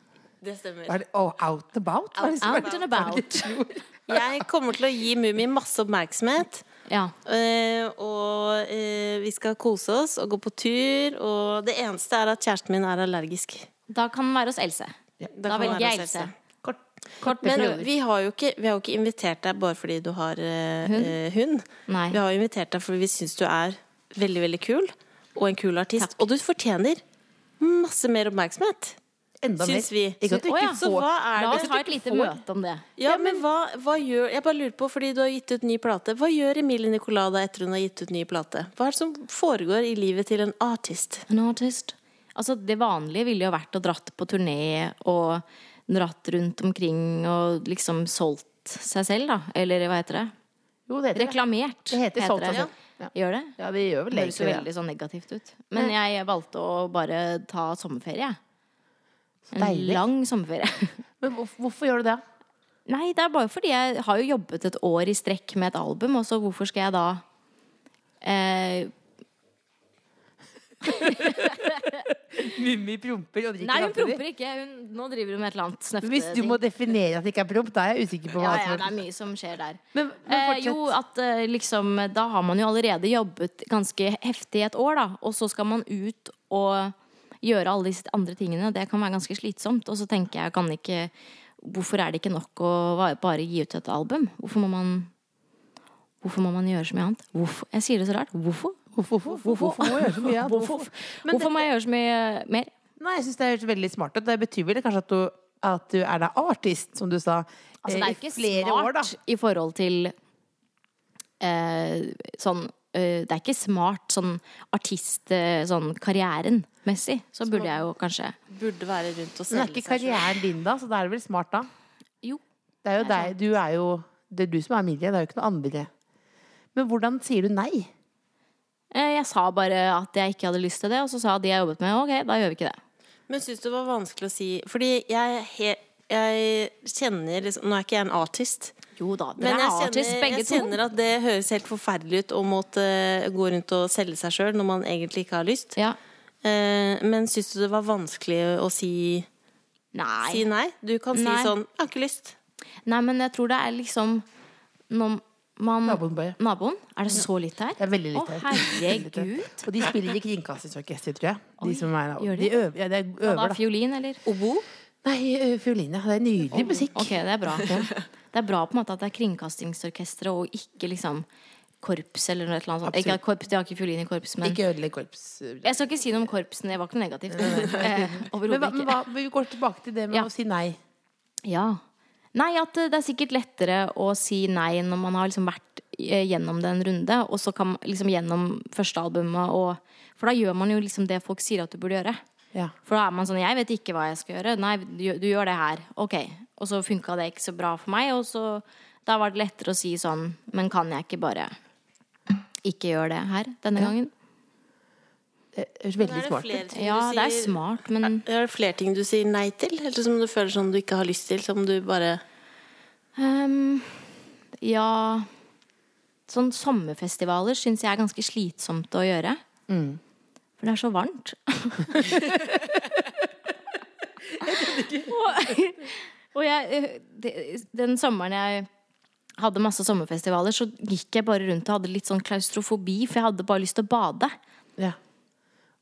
Det stemmer. Var det, oh, out and about? Var det, Out and about. Jeg kommer til å gi Mummi masse oppmerksomhet. Ja. eh, og eh, vi skal kose oss og gå på tur. Og det eneste er at kjæresten min er allergisk. Da kan den være hos Else. Da, kan velger være jeg hos Else. Else. Kort. Men vi har jo ikke, vi har jo ikke invitert deg bare fordi du har eh, eh, hund. Nei. Vi har jo invitert deg fordi vi syns du er veldig, veldig kul. Og en kul artist. Og du fortjener masse mer oppmerksomhet. Enda Syns vi. Ikke at du Å, ikke ja. Så får hva er La det oss ha et lite møte om det. Ja, men hva, hva gjør Jeg bare lurer på, fordi du har gitt ut ny plate. Hva gjør Emilie Nicolas da etter hun har gitt ut ny plate? Hva er det som foregår i livet til en artist? An artist. Altså, det vanlige ville jo vært å dratt på turné og dratt rundt omkring og liksom solgt seg selv, da. Eller hva heter det? Jo, det heter det. Reklamert. Det heter solgt seg selv. Ja. Gjør det? Ja, det gjør vel Det høres jo egentlig det. veldig sånn negativt ut. Men jeg valgte å bare ta sommerferie. jeg. En Deilig. lang sommerferie. Men hvorfor, hvorfor gjør du det? Nei, det er bare fordi jeg har jo jobbet et år i strekk med et album, og så hvorfor skal jeg da eh, Mummi promper og drikker Nei, hun promper ikke. Hun, nå driver hun med et eller annet snøfteting. Hvis du må definere at det ikke er promp, da er jeg usikker på hva ja, ja, som det er mye som skjer der. Men- men eh, fortsett. jo, at eh, liksom Da har man jo allerede jobbet ganske heftig i et år, da. Og så skal man ut og gjøre alle disse andre tingene. Det kan være ganske slitsomt. Og så tenker jeg, kan ikke Hvorfor er det ikke nok å va- bare gi ut et album? Hvorfor må man Hvorfor må man gjøre så mye annet? Hvorfor? Jeg sier det så rart. Hvorfor? Hvorfor, hvorfor, hvorfor, hvorfor må jeg gjøre så mye? annet? Hvorfor, Men hvorfor må jeg gjøre så mye mer? Nei, jeg syns det høres veldig smart ut. Det betyr vel kanskje at du, at du er da artist, som du sa. Altså, det eh, er i ikke flere smart år, da. i forhold til eh, sånn eh, Det er ikke smart sånn artist eh, sånn karrierenmessig. Så burde jeg jo kanskje Burde være rundt og Men det er selge ikke altså. seg selv. karrieren din, da, så da er det vel smart, da. Jo. Det er jo deg. Du er jo Det er du som er Emilie, det er jo ikke noe andre. Men hvordan sier du nei? Eh, jeg sa bare at jeg ikke hadde lyst til det, og så sa de jeg jobbet med, ok, da gjør vi ikke det. Men syns du det var vanskelig å si Fordi jeg, he, jeg kjenner liksom Nå er ikke jeg en artist, Jo da, dere er Men jeg artists kjenner, begge jeg to. kjenner at det høres helt forferdelig ut å måtte gå rundt og selge seg sjøl når man egentlig ikke har lyst. Ja. Eh, Men syns du det var vanskelig å si Nei. si nei? Du kan si Nei. sånn 'Jeg har ikke lyst'. Nei, men jeg tror det er liksom når man Naboen bare. Naboen? Er det så lite her? Det er veldig lite her. Å, herregud. Og de spiller i Kringkastingsorkesteret, tror jeg. De som er der. gjør de? De øver, ja, de Hva da? øver da. Fiolin, eller? Obo? Nei, ø, fiolin, ja. Det er nydelig musikk. Ok, det er bra. Det er bra på en måte at det er Kringkastingsorkesteret og ikke liksom korps eller noe et eller annet sånt. Ikke, Absolutt. korps, de har ikke fiolin i korps, men Ikke ødelegg korps. Men, Jeg skal ikke si noe om korpsene, det var ikke noe negativt. Eh, hva, Overhodet men ikke. hva, vi går tilbake til det med Ja. å si nei. Ja. Nei, at eh, det er sikkert lettere å si nei når man har liksom vært eh, gjennom det en runde, og så kan liksom gjennom første albumet og For da gjør man jo liksom det folk sier at du burde gjøre. Ja. For da er man sånn Jeg vet ikke hva jeg skal gjøre. Nei, du, gjør- du gjør det her. Ok. Og så funka det ikke så bra for meg, og så Da var det lettere å si sånn Men kan jeg ikke bare ikke gjøre det her denne gangen? Det høres veldig Er det smart flere ut. ting Ja, du det er sier- smart, men Er det flere ting du sier nei til? Eller som du føler som du ikke har lyst til? Som du bare Ehm, ja Sånn sommerfestivaler syns jeg er ganske slitsomt å gjøre. For det er så varmt. og og jeg, eh, det- den sommeren jeg hadde masse sommerfestivaler, så gikk jeg bare rundt og hadde litt sånn klaustrofobi, for jeg hadde bare lyst til å bade. Ja.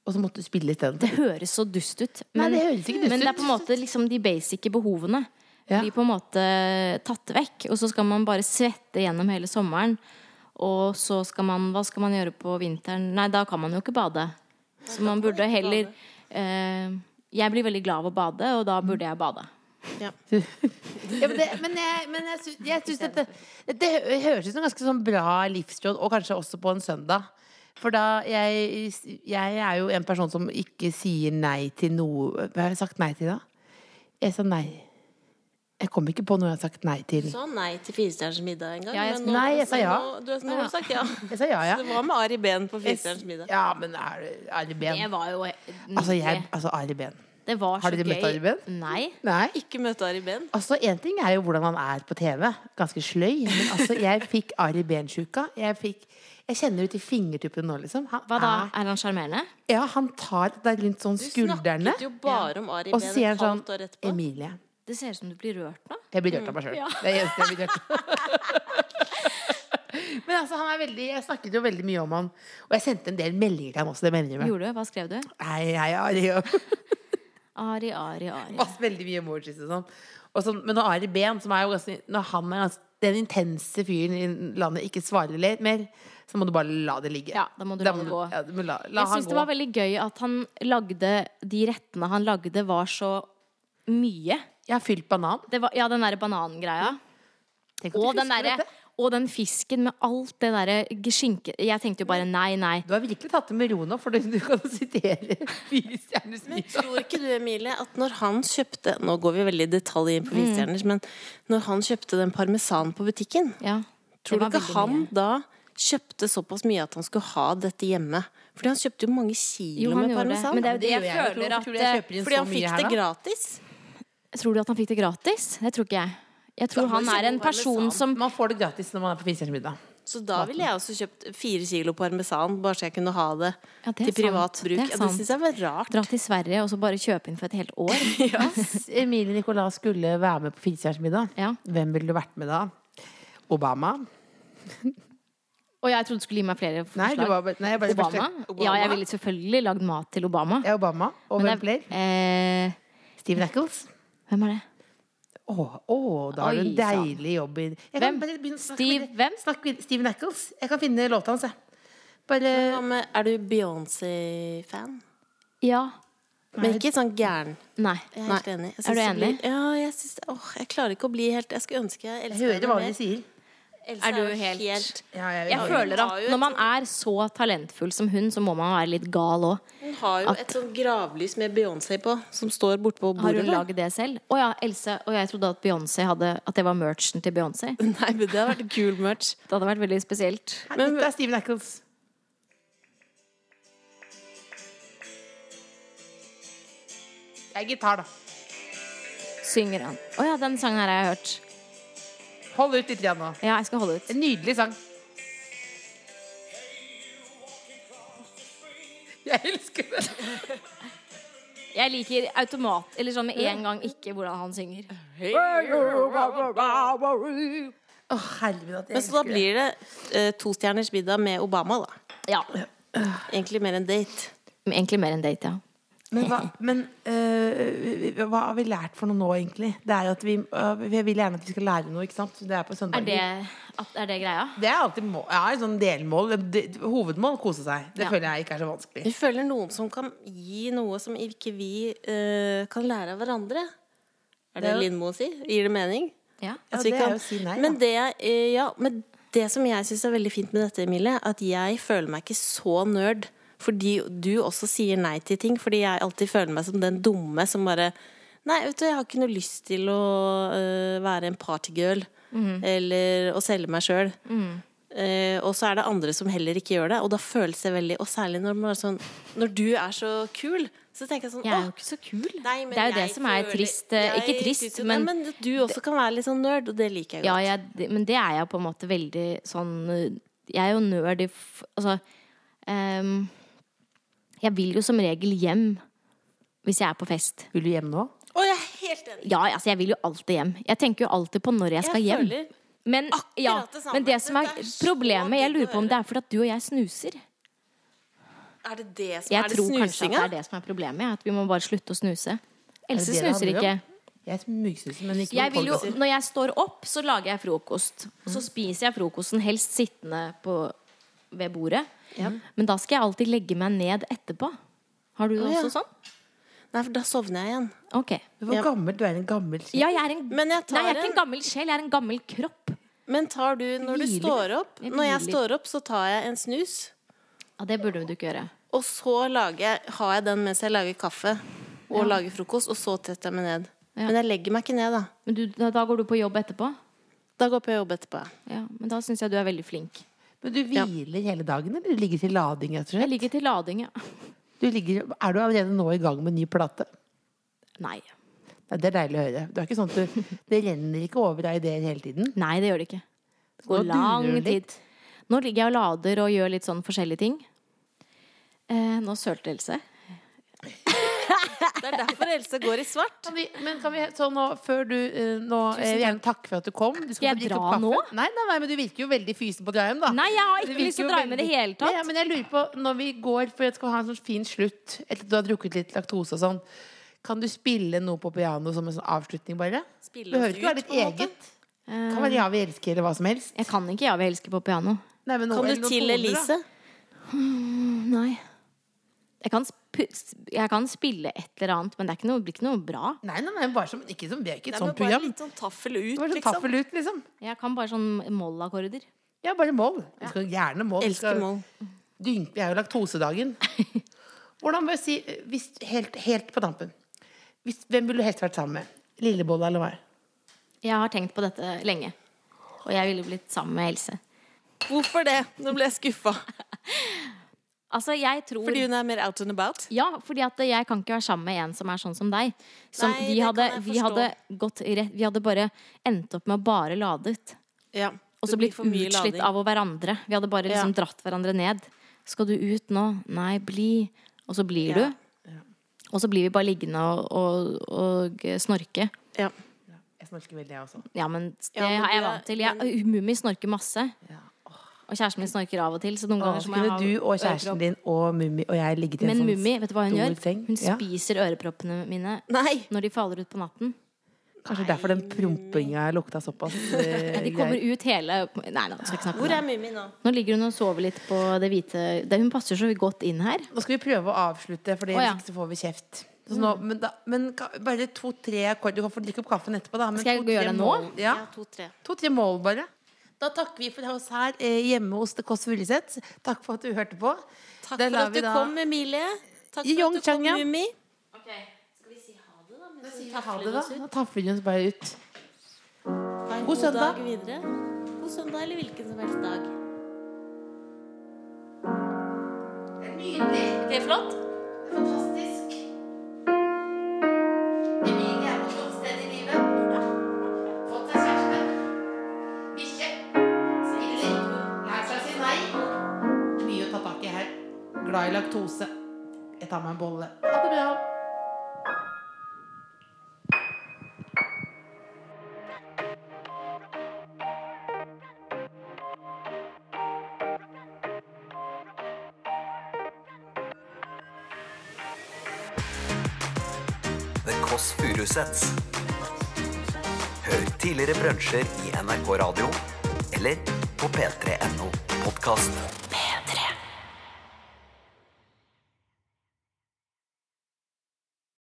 Og så måtte du spille isteden. Det høres så dust ut. Nei, det høres ikke dust men det er ut. på en måte liksom de basice behovene Ja. blir på en måte tatt vekk. Og så skal man bare svette gjennom hele sommeren. Og så skal man Hva skal man gjøre på vinteren? Nei, da kan man jo ikke bade. Så man burde heller eh, Jeg blir veldig glad av å bade, og da burde jeg bade. Ja, men, det, men jeg, men jeg, sy- jeg syns dette Det hø- høres ut som ganske sånn bra livsråd, og kanskje også på en søndag. For da jeg, jeg er jo en person som ikke sier nei til noe Hva har jeg sagt nei til, da? Jeg sa nei. Jeg kom ikke på noe jeg har sagt nei til. sa nei til Firestjerners middag en gang. Ja, jeg- men nå- Nei, jeg sa ja. Nå, du, nå har du sagt ja. Jeg sa ja, ja. Det var med Ari Behn på Firestjerners middag. Ja, men er det Ari Det Behn? var jo Altså, jeg, altså Ari Behn. Det var så Har dere gøy. møtt Ari Behn? Nei. Nei. Ikke møte Ari Behn. Altså, En ting er jo hvordan han er på TV. Ganske sløy. Men altså, jeg fikk Ari Behn-sjuka. Jeg, fikk- jeg kjenner ut i fingertuppene nå, liksom. Han, Hva da? Er, Er han sjarmerende? ja, han tar deg rundt sånn Du skuldrene, snakket jo bare om Ari og Behn så et sier han halvt år sånn etterpå. Emilie. Det ser ut som du blir rørt nå. Jeg blir rørt av meg sjøl. Det er det eneste jeg blir rørt av. Men altså, han er veldig, jeg snakket jo veldig mye om han. Og jeg sendte en del meldinger til ham også. det mener jeg med. Gjorde du? Hva skrev du? Hei, hei, Ari. Og Ari, Ari, Ari. masse veldig mye emojis og sånn. Og sånn, men når Ari Behn, som er jo ganske Når han er ganske, den intense fyren i landet, ikke svarer le- mer, så må du bare la det ligge. Ja, da må du la det gå. ja, du må la, la Jeg han syns det gå. var veldig gøy at han lagde De rettene han lagde, var så mye. Jeg har fylt banan. Det var, ja, den derre banangreia. Tenk at du Og den, husker derre- dette. og den fisken med alt det derre skinke... Jeg tenkte jo bare nei, nei. Du har virkelig tatt det med ro nå, for du, du kan sitere fire stjerners Men middag. tror ikke du, Emilie, at når han kjøpte Nå går vi veldig i detalj Mm. inn på Firestjerners, men når han kjøpte den parmesan på butikken, Ja. tror Det du var ikke veldig han mye. da kjøpte såpass mye at han skulle ha dette hjemme? Fordi han kjøpte jo mange kilo Jo, han med gjorde det. parmesan. Men det er jo det gjør jeg jeg jo. føler Tror du jeg at kjøper inn Fordi så han mye fikk her, det da? gratis. Tror du at han fikk det gratis? Det tror ikke jeg. Jeg tror må han du er en kjøpe person parmesan. som Man får det gratis når man er på Finstjerners middag. Så da ville jeg også kjøpt fire kilo parmesan, bare så jeg kunne ha det, Ja, det er til privat sant. bruk. Det er Ja, det sant. syns jeg var rart. drar til Sverige og så bare kjøper inn for et helt år. Hvis Emilie Nicolas skulle være med på Finstjerners middag, Ja. hvem ville du vært med da? Obama? Og jeg trodde du skulle gi meg flere Nei, forslag. du var bare- nei, jeg bare Obama? Obama? Ja, jeg ville selvfølgelig lagd mat til Obama. Ja, Obama. Og Men hvem det- flere? eh, Steve Nackles. hvem er det? Å, å, da har du en Oi, sann. deilig jobb i Jeg Hvem? kan bare begynne å snakke Steve- videre. hvem? Snakk videre. Steve Nackles. Jeg kan finne låta hans, jeg. Bare Hva med- Er du Beyoncé-fan? Ja. Men ikke sånn gæren. Nei. Jeg er helt enig. Jeg Er synes du det enig? Blir, ja, jeg, synes, åh, jeg klarer ikke å bli helt Jeg skulle ønske jeg Jeg elska hører hva de sier. Elsa Er du jo helt- Ja, Jeg hun føler har at jo når et man er så talentfull som hun, så må man være litt gal òg. Hun har jo et sånn gravlys med Beyoncé på, som står bortpå Har bordet. hun lagd det selv? Å ja, Else. Og jeg trodde at Beyoncé hadde At det var merchen til Beyoncé. Det Nei, men det hadde vært kul merch. hadde vært veldig spesielt. Men, Dette er Steve Nackles. Det er gitar, da. Synger han. Å ja, den sangen her har jeg hørt. Hold ut litt igjen nå. Ja, jeg skal holde ut. En nydelig sang. Jeg elsker det. Jeg liker automat, eller sånn med en gang ikke hvordan han synger. Å, helvete. jeg Men så da elsker det. blir det eh, tostjerners middag med Obama, da. Ja. Egentlig mer en date. Men Egentlig mer enn date, ja. Men, hva, men øh, hva har vi lært for noe nå, egentlig? Det er jo at vi, øh, vi vil gjerne at vi skal lære noe, ikke sant? Så Det er på Er søndager. det, at, er det greia? Det er alltid må, ja, et sånn delmål. Det- Hovedmål kose seg. Det Ja. føler jeg ikke er så vanskelig. Vi føler noen som kan gi noe som ikke vi eh, kan lære av hverandre. Er det, Det er jo- Lindmo sier? Gir det mening? Ja. Ja, At Altså, vi det er kan- jo å si nei, da. men det, eh, ja, men det som jeg syns er veldig fint med dette, Emilie, at jeg føler meg ikke så nerd fordi du også sier nei til ting. Fordi jeg alltid føler meg som den dumme som bare Nei, vet du, jeg har ikke noe lyst til å eh, være en partygirl. Mhm. Eller å selge meg sjøl. Eh, og så er det andre som heller ikke gjør det, og da føles det veldig Og særlig når, man er sånn, når du er så kul, så tenker jeg sånn Jeg er «Åh, jo ikke så kul. Nei, men det er jo det jeg som er føler- trist. eh, Jeg Ikke trist, synes jo det, men men du også kan være litt sånn nerd, og det liker jeg ja, godt. jeg, det- Men det er jeg på en måte veldig sånn eh, Jeg er jo nerd i f- Altså ehm, Jeg vil jo som regel hjem hvis jeg er på fest. Vil du hjem nå? Å, jeg er helt enig. Ja, altså jeg vil jo alltid hjem. Jeg tenker jo alltid på når jeg skal Jeg hjem. føler Men, ja, det samme. men det som er Dette er så problemet, jeg digg å lurer på om det er fordi at du og jeg snuser. Er det det som Jeg er det tror kanskje at det snusinga? er det som er problemet. ja, At vi må bare slutte å snuse. Else det det snuser handler om? ikke. Jeg smugsuser, men ikke Jeg noen vil jo, podcaster. når jeg står opp, så lager jeg frokost. Og så spiser jeg frokosten helst sittende på, ved bordet. Men da skal jeg alltid legge meg ned etterpå. Har du det ja. også sånn? Nei, for da sovner jeg igjen. Ok. Hvor gammel du er? En gammel sjel? Ja, jeg er en, Men jeg tar nei, jeg er ikke en- en gammel sjel, jeg er en gammel kropp. Men tar du Når du Hviler. står opp Jeg Når jeg hviler. står opp, så tar jeg en snus, Ja, det burde du ikke gjøre. og så lager jeg, har jeg den mens jeg lager kaffe og lager frokost, og så tetter jeg meg ned. Ja. Men jeg legger meg ikke ned, da. Men du, da, da går du på jobb etterpå? Da går jeg på jobb etterpå. Ja, men da syns jeg du er veldig flink. Men du hviler hele dagen, eller du ligger til lading? rett og Jeg slett? ligger til lading, ja. Du ligger, er du allerede nå i gang med en ny plate? Nei. Nei, det er deilig å høre. Du er ikke sånn at du, det renner ikke over av ideer hele tiden. Nei, det gjør det ikke. Det Nå går lang durer det litt. tid. Nå ligger jeg og lader og gjør litt sånn forskjellige ting. Eh, nå sølte Else. Det er derfor Else går i svart. Kan vi, men kan vi, så nå, før du eh, nå, eh, Gjerne takk for at du kom. Du Skal få jeg drikke opp dra kaffe. nå? Nei, nei, nei, men du virker jo veldig fysen på å dra hjem, da. Nei, jeg har Det ikke virker lyst til jo å dra hjem i det veldig- hele Ja, tatt. men jeg lurer på, når vi går, for jeg skal ha en sånn fin slutt etter at du har drukket litt laktose og sånn, kan du spille noe på piano som en sånn avslutning, bare? Spille det oss behøver ikke ut, være ditt på en måte. eget. Kan være 'Ja, vi elsker', eller hva som helst. Jeg kan ikke 'Ja, vi elsker' på piano. Nei, men noe- Kan eller du noen til toner, da. Elise? Nei. Jeg kan, sp jeg kan spille et eller annet, men det er ikke noe, blir ikke noe bra. Nei, nei, nei, bare som, ikke som, vi er ikke et Nei, sånt men bare program. litt sånn taffel ut, Det var sånn liksom. taffel ut, liksom. Jeg kan bare sånn mollakkorder. Ja, bare moll. Vi skal gjerne moll. Vi Elsker skal- mål. Dynke, vi er jo laktosedagen. Hvordan må jeg si, hvis, helt, helt på tampen hvis, Hvem ville du helst vært sammen med? Lillebolla eller meg? Jeg har tenkt på dette lenge. Og jeg ville blitt sammen med Else. Hvorfor det? Nå ble jeg skuffa. Altså, jeg tror Fordi hun er mer out and about. Ja, fordi at jeg kan ikke være sammen med en som er sånn som deg. Som Nei, vi, det hadde, kan jeg vi, hadde gått rett, vi hadde bare endt opp med å bare ladet. Ja. Og så blitt utslitt av hverandre. Vi hadde bare liksom dratt hverandre ned. Skal du ut nå? Nei, bli. Og så blir Ja. du. Og så blir vi bare liggende og, og, og snorke. Ja. Jeg snorker veldig, jeg også. Ja, men det Ja, men er jeg du er- vant til. Jeg, Mummi snorker masse. Og kjæresten min snorker av og til, så noen Nå ganger så må jeg kunne ha du og kjæresten din og Mummi og jeg ligget i en Men sånn Mummi, vet du hva hun stor gjør? seng. Hun Ja. spiser øreproppene mine Nei! når de faller ut på natten. Kanskje derfor den prompinga lukta såpass. eh, De kommer ut hele Nei, nei, skal ikke snakke om Hvor det. er Mummi nå? Nå ligger hun og sover litt på det hvite det, Hun passer så godt inn her. Nå skal vi prøve å avslutte, for Å, ja. Mm. hvis ikke så får vi kjeft. Så nå, men, da, men ka- bare to-tre akkord. Du kan få drikke opp kaffen etterpå. Da, men Skal jeg to-tre gjøre det nå? mål- Ja. to-tre. To-tre mål, bare. Da takker vi for oss her eh, hjemme hos The Kåss Furuseth. Takk for at du hørte på. Takk Da for lar at vi du da- kom, Emilie. Takk for Yong at du kom, Chang, ja. Mummi. Ha det, da. Nå taffer vi oss bare ut. Ha en God søndag. dag videre. God søndag eller hvilken som helst dag. Ok, flott. Fantastisk. Emilie er på et godt sted i livet. Fått seg kjæreste. glad i laktose. Jeg tar meg en bolle. Ha det bra. The Kåss Furuseths. Hør tidligere brunsjer i NRK Radio eller på p3.no podkast.